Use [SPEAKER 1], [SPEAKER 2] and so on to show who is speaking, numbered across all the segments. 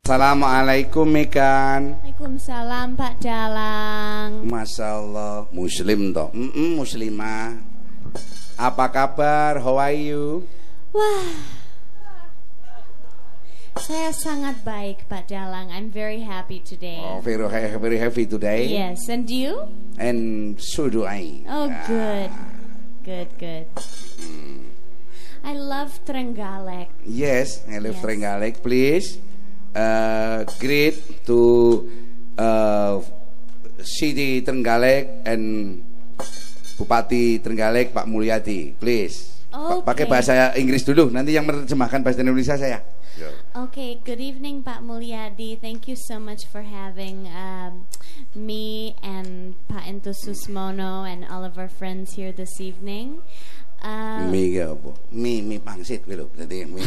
[SPEAKER 1] Assalamualaikum Mekan.
[SPEAKER 2] Waalaikumsalam Pak Dalang.
[SPEAKER 1] Masya Allah, Muslim toh. Mm-mm, muslimah. Apa kabar? How are you?
[SPEAKER 2] Wah. Saya sangat baik Pak Dalang. I'm very happy today.
[SPEAKER 1] Oh, very, ha- very happy today.
[SPEAKER 2] Yes, and you?
[SPEAKER 1] And so do I. Ah,
[SPEAKER 2] Oh, good. Good, good. I love Trenggalek.
[SPEAKER 1] Yes, I love
[SPEAKER 2] Yes.
[SPEAKER 1] Trenggalek. Please, uh, greet to uh, City Trenggalek and Bupati Trenggalek Pak Mulyati. Please, Pa-
[SPEAKER 2] Oke.
[SPEAKER 1] pakai bahasa Inggris dulu. Nanti yang menerjemahkan bahasa Indonesia saya.
[SPEAKER 2] Okay, good evening Pak Mulyadi. Thank you so much for having um, me and Pak Ento Susmono and all of our friends here this evening. Um,
[SPEAKER 1] Mie ki apa? Mie mie pangsit kuwi lho, berarti mie.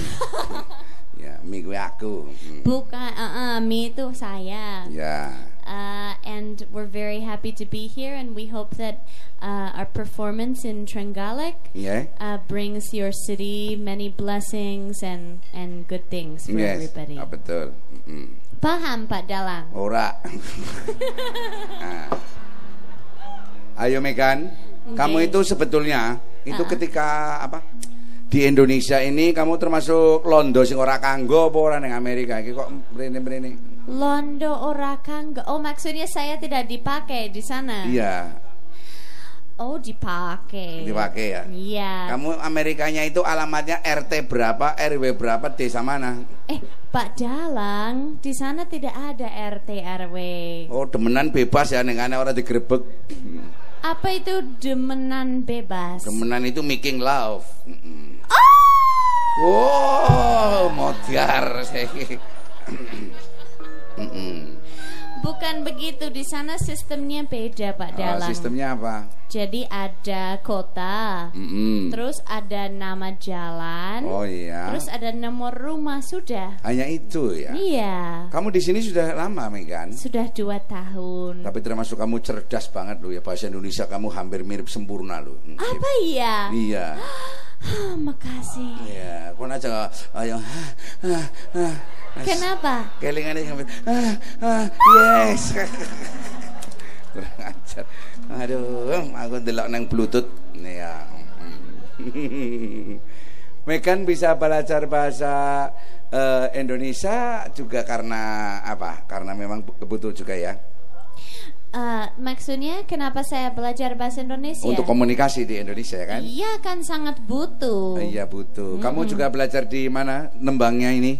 [SPEAKER 1] ya, mie kuwi aku. Hmm.
[SPEAKER 2] Bukan, uh, uh, me itu saya.
[SPEAKER 1] Ya.
[SPEAKER 2] Uh, and we're very happy to be here, and we hope that uh, our performance in Trenggalek
[SPEAKER 1] Ya.
[SPEAKER 2] uh, brings your city many blessings and, and good things for
[SPEAKER 1] Yes.
[SPEAKER 2] everybody.
[SPEAKER 1] Ah, betul. Mm-mm.
[SPEAKER 2] Paham, Pak Dalang?
[SPEAKER 1] Ora. Ah. Ayo Megan, kamu
[SPEAKER 2] Oke.
[SPEAKER 1] itu sebetulnya itu
[SPEAKER 2] Ah.
[SPEAKER 1] ketika apa? Di Indonesia ini kamu termasuk londo sing ora kanggo apa ora ning Amerika iki kok mrene-mrene.
[SPEAKER 2] Ah. Londo ora kanggo. Oh, maksudnya saya tidak dipakai di sana?
[SPEAKER 1] Iya,
[SPEAKER 2] Oh, dipakai.
[SPEAKER 1] dipakai ya.
[SPEAKER 2] Iya.
[SPEAKER 1] Kamu Amerikanya itu alamatnya RT berapa, RW berapa, desa mana?
[SPEAKER 2] Eh, Pak Dalang, di sana tidak ada RT RW.
[SPEAKER 1] Oh, demenan bebas ya ning ana ora digrebek.
[SPEAKER 2] Apa itu demenan bebas?
[SPEAKER 1] Demenan itu making love. Mm-mm. Wow, modiar saya. Mm-mm.
[SPEAKER 2] Bukan begitu, di sana sistemnya beda Pak
[SPEAKER 1] Oh,
[SPEAKER 2] Dalang.
[SPEAKER 1] sistemnya apa?
[SPEAKER 2] Jadi ada kota,
[SPEAKER 1] Mm-mm.
[SPEAKER 2] terus ada nama jalan,
[SPEAKER 1] Hmm. Oh iya.
[SPEAKER 2] terus eh, ada nomor rumah sudah.
[SPEAKER 1] Hanya itu ya.
[SPEAKER 2] Iya,
[SPEAKER 1] Kamu di sini sudah lama, Megan.
[SPEAKER 2] sudah dua tahun.
[SPEAKER 1] Tapi termasuk kamu cerdas banget loh ya bahasa Indonesia kamu hampir mirip sempurna loh. Mm,
[SPEAKER 2] Apa iya?
[SPEAKER 1] Iya.
[SPEAKER 2] Ah, makasih.
[SPEAKER 1] Iya, kon aja ayo. Ah, ah, ah.
[SPEAKER 2] Kenapa?
[SPEAKER 1] Kelingan ini sampai ah, ah, yes. Kurang ajar. Aduh, aku delok nang Bluetooth. Ya. Mekan bisa belajar bahasa eh, Indonesia juga karena apa? Karena memang bu- butuh juga ya.
[SPEAKER 2] Eh, maksudnya kenapa saya belajar bahasa Indonesia?
[SPEAKER 1] Untuk komunikasi di Indonesia ya kan?
[SPEAKER 2] Iya kan sangat butuh.
[SPEAKER 1] Iya butuh. Kamu juga belajar di mana? Nembangnya ini?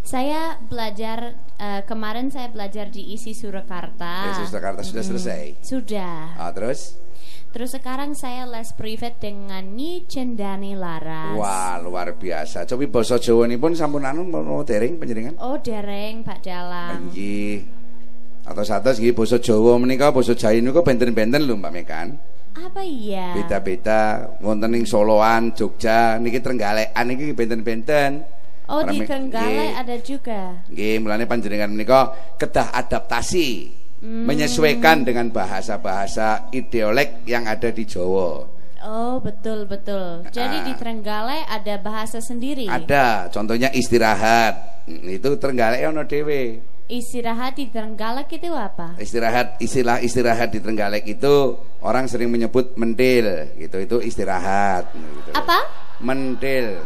[SPEAKER 2] Saya belajar eh, kemarin saya belajar di ISI Surakarta.
[SPEAKER 1] Yesus Jakarta sudah selesai.
[SPEAKER 2] Sudah.
[SPEAKER 1] Ah, terus?
[SPEAKER 2] Terus sekarang saya les privat dengan Nyi Cendani Laras.
[SPEAKER 1] Wah luar biasa. Coba basa Jawa ini pun sampun anu mau tering panjenengan.
[SPEAKER 2] Oh dereng Pak Dalang.
[SPEAKER 1] Panji. Atau satu segi basa Jawa menika basa Jawi niku benten-benten lho Mbak Mekan.
[SPEAKER 2] Apa iya?
[SPEAKER 1] Beda-beda wonten ing Soloan, Jogja niki Trenggalekan niki benten-benten.
[SPEAKER 2] Oh di
[SPEAKER 1] Karena-
[SPEAKER 2] Trenggalek
[SPEAKER 1] Nggih.
[SPEAKER 2] ada juga.
[SPEAKER 1] Nggih, mulane panjenengan menika kedah adaptasi
[SPEAKER 2] Hmm.
[SPEAKER 1] menyesuaikan dengan bahasa-bahasa ideolek yang ada di Jawa.
[SPEAKER 2] Oh betul betul. Jadi
[SPEAKER 1] Ah.
[SPEAKER 2] di Trenggalek ada bahasa sendiri.
[SPEAKER 1] Ada, contohnya istirahat. Hmm, Itu Trenggalek ono dhewe.
[SPEAKER 2] Istirahat di Trenggalek itu apa?
[SPEAKER 1] Iya. istirahat istilah istirahat di Trenggalek itu orang sering menyebut mentil gitu itu istirahat gitu.
[SPEAKER 2] Apa?
[SPEAKER 1] mentil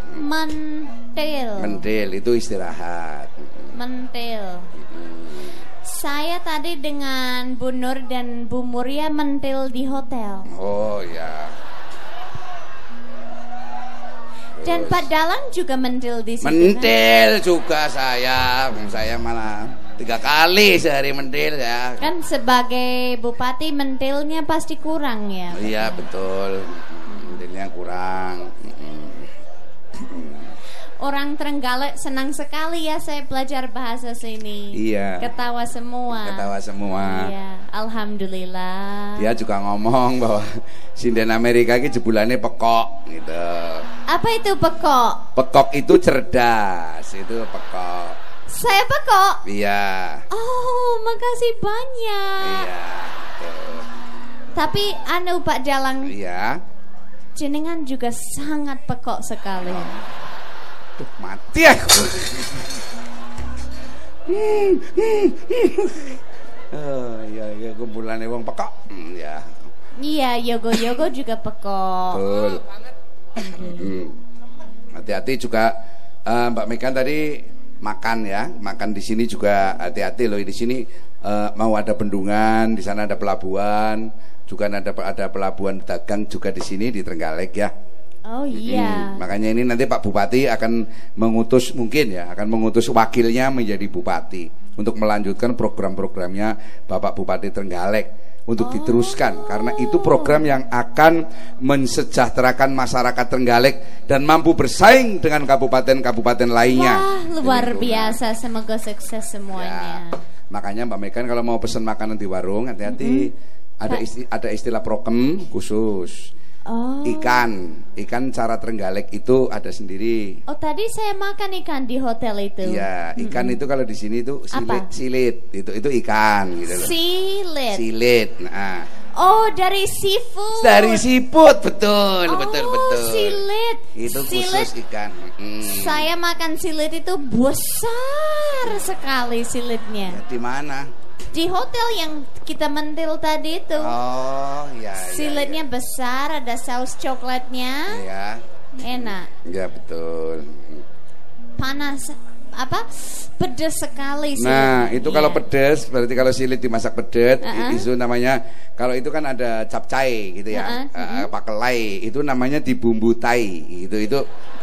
[SPEAKER 2] Mentil.
[SPEAKER 1] mentil itu istirahat
[SPEAKER 2] Mentil. Saya tadi dengan Bu Nur dan Bu Muria mentil di hotel.
[SPEAKER 1] oh ya
[SPEAKER 2] Dan Pak Dalang juga mentil di situ. kan?
[SPEAKER 1] mentil juga saya saya malah tiga kali sehari mentil ya
[SPEAKER 2] Kan sebagai bupati mentilnya pasti kurang ya.
[SPEAKER 1] iya betul mentilnya kurang
[SPEAKER 2] Orang Trenggalek senang sekali ya saya belajar bahasa sini.
[SPEAKER 1] Iya.
[SPEAKER 2] Ketawa semua.
[SPEAKER 1] ketawa Iya. semua
[SPEAKER 2] Iya, alhamdulillah.
[SPEAKER 1] dia juga ngomong bahwa sinden Amerika ini jebulannya pekok gitu
[SPEAKER 2] Apa itu pekok?
[SPEAKER 1] Pekok itu cerdas, itu pekok.
[SPEAKER 2] Saya pekok.
[SPEAKER 1] Iya.
[SPEAKER 2] Oh, makasih banyak.
[SPEAKER 1] Iya. betul.
[SPEAKER 2] Tapi anu Pak Dalang,
[SPEAKER 1] Iya.
[SPEAKER 2] jenengan juga sangat pekok sekali.
[SPEAKER 1] Tuh mati aku. Eh, oh, ya, ya kumpulan wong pekok. Hmm, ya.
[SPEAKER 2] Iya, yogo-yogo juga pekok.
[SPEAKER 1] Betul. Hmm. Hati-hati juga eh, Mbak Mekan tadi makan ya, makan di sini juga hati-hati loh. Di sini eh, mau ada bendungan, di sana ada pelabuhan, juga ada ada pelabuhan dagang juga di sini di Trenggalek ya.
[SPEAKER 2] Oh iya.
[SPEAKER 1] Hmm, Makanya ini nanti Pak Bupati akan mengutus mungkin ya, akan mengutus wakilnya menjadi bupati untuk melanjutkan program-programnya Bapak Bupati Trenggalek
[SPEAKER 2] Oh.
[SPEAKER 1] untuk diteruskan karena itu program yang akan mensejahterakan masyarakat Trenggalek dan mampu bersaing dengan kabupaten-kabupaten lainnya.
[SPEAKER 2] Wah, luar
[SPEAKER 1] Demikian.
[SPEAKER 2] biasa. Semoga sukses
[SPEAKER 1] Iya. Ya.
[SPEAKER 2] semuanya.
[SPEAKER 1] Makanya Mbak Mekan kalau mau pesan makanan di warung hati-hati ada
[SPEAKER 2] Mm-hmm. Pak.
[SPEAKER 1] isti- ada istilah prokem khusus.
[SPEAKER 2] Oh.
[SPEAKER 1] Ikan, ikan cara Trenggalek itu ada sendiri.
[SPEAKER 2] Oh, tadi saya makan ikan di hotel itu.
[SPEAKER 1] Iya, ikan itu kalau di sini itu silit,
[SPEAKER 2] Apa?
[SPEAKER 1] silit. Itu itu ikan gitu loh.
[SPEAKER 2] Silet.
[SPEAKER 1] Silit. Nah,
[SPEAKER 2] Oh, dari seafood.
[SPEAKER 1] dari siput betul,
[SPEAKER 2] Oh,
[SPEAKER 1] betul, betul.
[SPEAKER 2] silit.
[SPEAKER 1] Itu
[SPEAKER 2] Silit.
[SPEAKER 1] khusus ikan. Mm.
[SPEAKER 2] Saya makan silit itu besar sekali silitnya.
[SPEAKER 1] Ya, Di mana?
[SPEAKER 2] Di hotel yang kita mentil tadi itu,
[SPEAKER 1] Iya. Oh, ya. ya,
[SPEAKER 2] silitnya besar, ada saus
[SPEAKER 1] Ya,
[SPEAKER 2] coklatnya,
[SPEAKER 1] ya.
[SPEAKER 2] enak.
[SPEAKER 1] Ya, betul.
[SPEAKER 2] Panas apa? Pedes sekali
[SPEAKER 1] Nah,
[SPEAKER 2] silitnya.
[SPEAKER 1] itu kalau
[SPEAKER 2] Iya.
[SPEAKER 1] pedes berarti kalau silit dimasak pedet
[SPEAKER 2] Uh-uh.
[SPEAKER 1] itu namanya kalau itu kan ada capcai gitu
[SPEAKER 2] Uh-uh,
[SPEAKER 1] ya. Eh, pakelai itu namanya dibumbu tai gitu itu.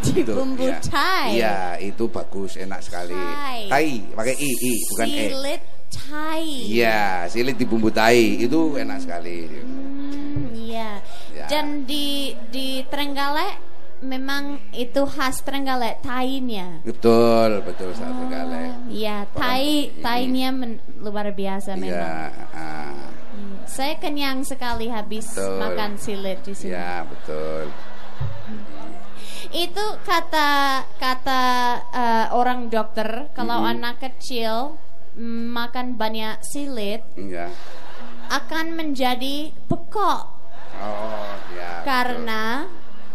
[SPEAKER 1] itu,
[SPEAKER 2] Dibumbu
[SPEAKER 1] ya.
[SPEAKER 2] tai.
[SPEAKER 1] Iya, itu bagus, enak sekali.
[SPEAKER 2] Tai.
[SPEAKER 1] Tai, pakai i i bukan e.
[SPEAKER 2] silit Thai.
[SPEAKER 1] Iya, silit dibumbu tai itu enak sekali.
[SPEAKER 2] Hmm, iya.
[SPEAKER 1] Ya.
[SPEAKER 2] Dan di di Trenggalek memang itu khas Trenggalek Thainya.
[SPEAKER 1] Betul, betul sangat
[SPEAKER 2] Oh,
[SPEAKER 1] sekali.
[SPEAKER 2] Iya, Thai Thainya men- luar biasa
[SPEAKER 1] Iya,
[SPEAKER 2] memang.
[SPEAKER 1] ah,
[SPEAKER 2] Iya. Saya kenyang sekali habis
[SPEAKER 1] Betul.
[SPEAKER 2] makan silit di sini.
[SPEAKER 1] iya betul.
[SPEAKER 2] Itu kata kata eh, orang dokter kalau anak kecil mm, makan banyak silit
[SPEAKER 1] Iya.
[SPEAKER 2] akan menjadi pekok.
[SPEAKER 1] Oh, iya. betul.
[SPEAKER 2] karena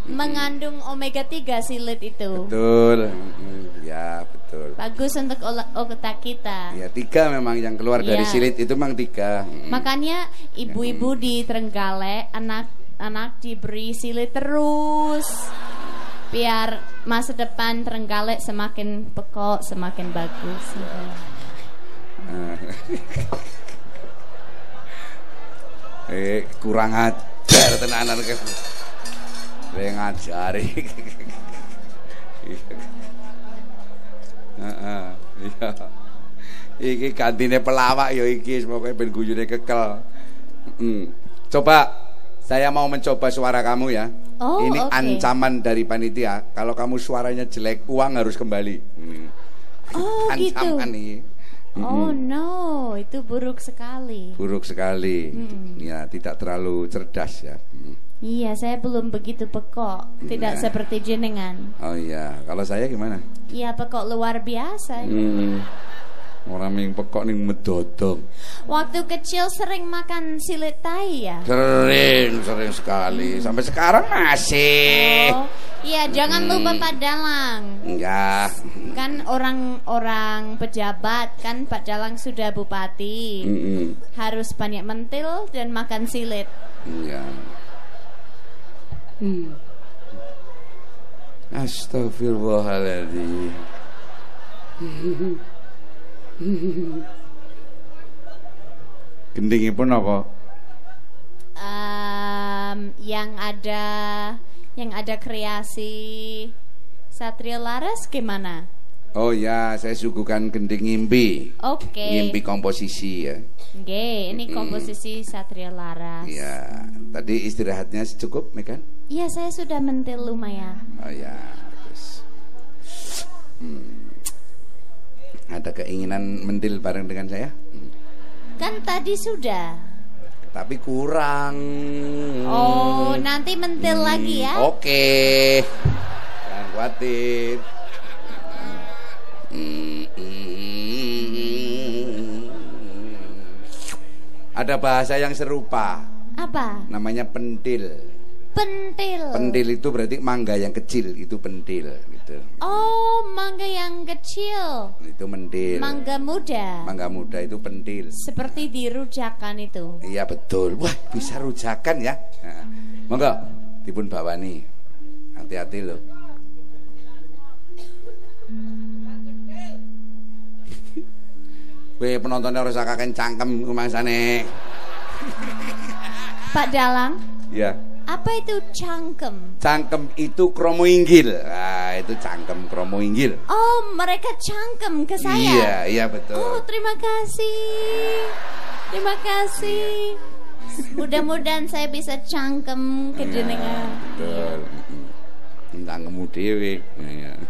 [SPEAKER 2] mengandung omega 3 silit itu.
[SPEAKER 1] Betul. Mm, Ya, betul.
[SPEAKER 2] Bagus untuk ola- otak kita.
[SPEAKER 1] Ya, tiga memang yang keluar dari
[SPEAKER 2] Iya.
[SPEAKER 1] silit itu memang tiga. Mm.
[SPEAKER 2] Makanya ibu-ibu di Trenggalek anak-anak diberi silit terus biar masa depan Trenggalek semakin pekok, semakin bagus.
[SPEAKER 1] Ah. Eh, kurang ajar tenanan ke. Saya ngajari. Heeh, Iya. Iki gantine pelawak ya iki semoga ben guyune kekel. Mm. Coba saya mau mencoba suara kamu ya.
[SPEAKER 2] Oh,
[SPEAKER 1] Ini
[SPEAKER 2] oke.
[SPEAKER 1] ancaman dari panitia. Kalau kamu suaranya jelek, uang harus kembali. Mm.
[SPEAKER 2] Oh, gitu.
[SPEAKER 1] ancaman ini.
[SPEAKER 2] Oh no, itu buruk sekali.
[SPEAKER 1] buruk sekali ya tidak terlalu cerdas ya Mm.
[SPEAKER 2] Iya, saya belum begitu pekok, tidak
[SPEAKER 1] Nah.
[SPEAKER 2] seperti jenengan.
[SPEAKER 1] oh iya kalau saya gimana
[SPEAKER 2] Iya, pekok luar biasa.
[SPEAKER 1] Hmm. orang yang pekok nih medodong
[SPEAKER 2] Waktu kecil sering makan silit tai ya?
[SPEAKER 1] sering sering sekali sampai sekarang masih
[SPEAKER 2] Oh, iya jangan lupa Pak Dalang.
[SPEAKER 1] enggak
[SPEAKER 2] Kan orang-orang pejabat kan Pak Dalang sudah bupati.
[SPEAKER 1] Mm-mm.
[SPEAKER 2] Harus banyak mentil dan makan silit.
[SPEAKER 1] Iya. Astagfirullahaladzim. Gendingipun apa?
[SPEAKER 2] Em, yang ada yang ada kreasi Satria Laras gimana?
[SPEAKER 1] Oh ya, saya suguhkan gending ngimpi.
[SPEAKER 2] Oke.
[SPEAKER 1] Ngimpi komposisi ya.
[SPEAKER 2] Nggih, ini komposisi Satria Laras. Iya,
[SPEAKER 1] Iya. Tadi istirahatnya cukup, Mekan?
[SPEAKER 2] saya sudah mentil lumayan.
[SPEAKER 1] Oh ya, bagus. Hmm. Ada keinginan mendil bareng dengan saya?
[SPEAKER 2] Kan tadi sudah.
[SPEAKER 1] Tapi kurang. Hmm.
[SPEAKER 2] Oh, nanti mentil lagi ya.
[SPEAKER 1] Oke. Jangan khawatir. Hmm. Ada bahasa yang serupa,
[SPEAKER 2] Apa?
[SPEAKER 1] namanya pentil.
[SPEAKER 2] pentil.
[SPEAKER 1] Pentil itu berarti mangga yang kecil itu pentil gitu.
[SPEAKER 2] Oh, mangga yang kecil.
[SPEAKER 1] Itu mentil.
[SPEAKER 2] Mangga muda.
[SPEAKER 1] Mangga muda itu pentil.
[SPEAKER 2] Seperti dirujakan itu.
[SPEAKER 1] Iya betul. Wah, bisa rujakan ya. Nah, monggo dipun bawani. Hati-hati loh. Weh penontonnya harus kakek cangkem kumangsane.
[SPEAKER 2] Pak Dalang,
[SPEAKER 1] Ya.
[SPEAKER 2] apa itu cangkem?
[SPEAKER 1] Cangkem itu kromo inggil. Ah, itu cangkem kromo inggil.
[SPEAKER 2] Oh, mereka cangkem ke
[SPEAKER 1] Iya,
[SPEAKER 2] saya.
[SPEAKER 1] iya betul.
[SPEAKER 2] Oh, terima kasih. Terima kasih. Mudah-mudahan saya bisa cangkem ke jenengan.
[SPEAKER 1] Betul. Tentang kemu dhewe. Iya.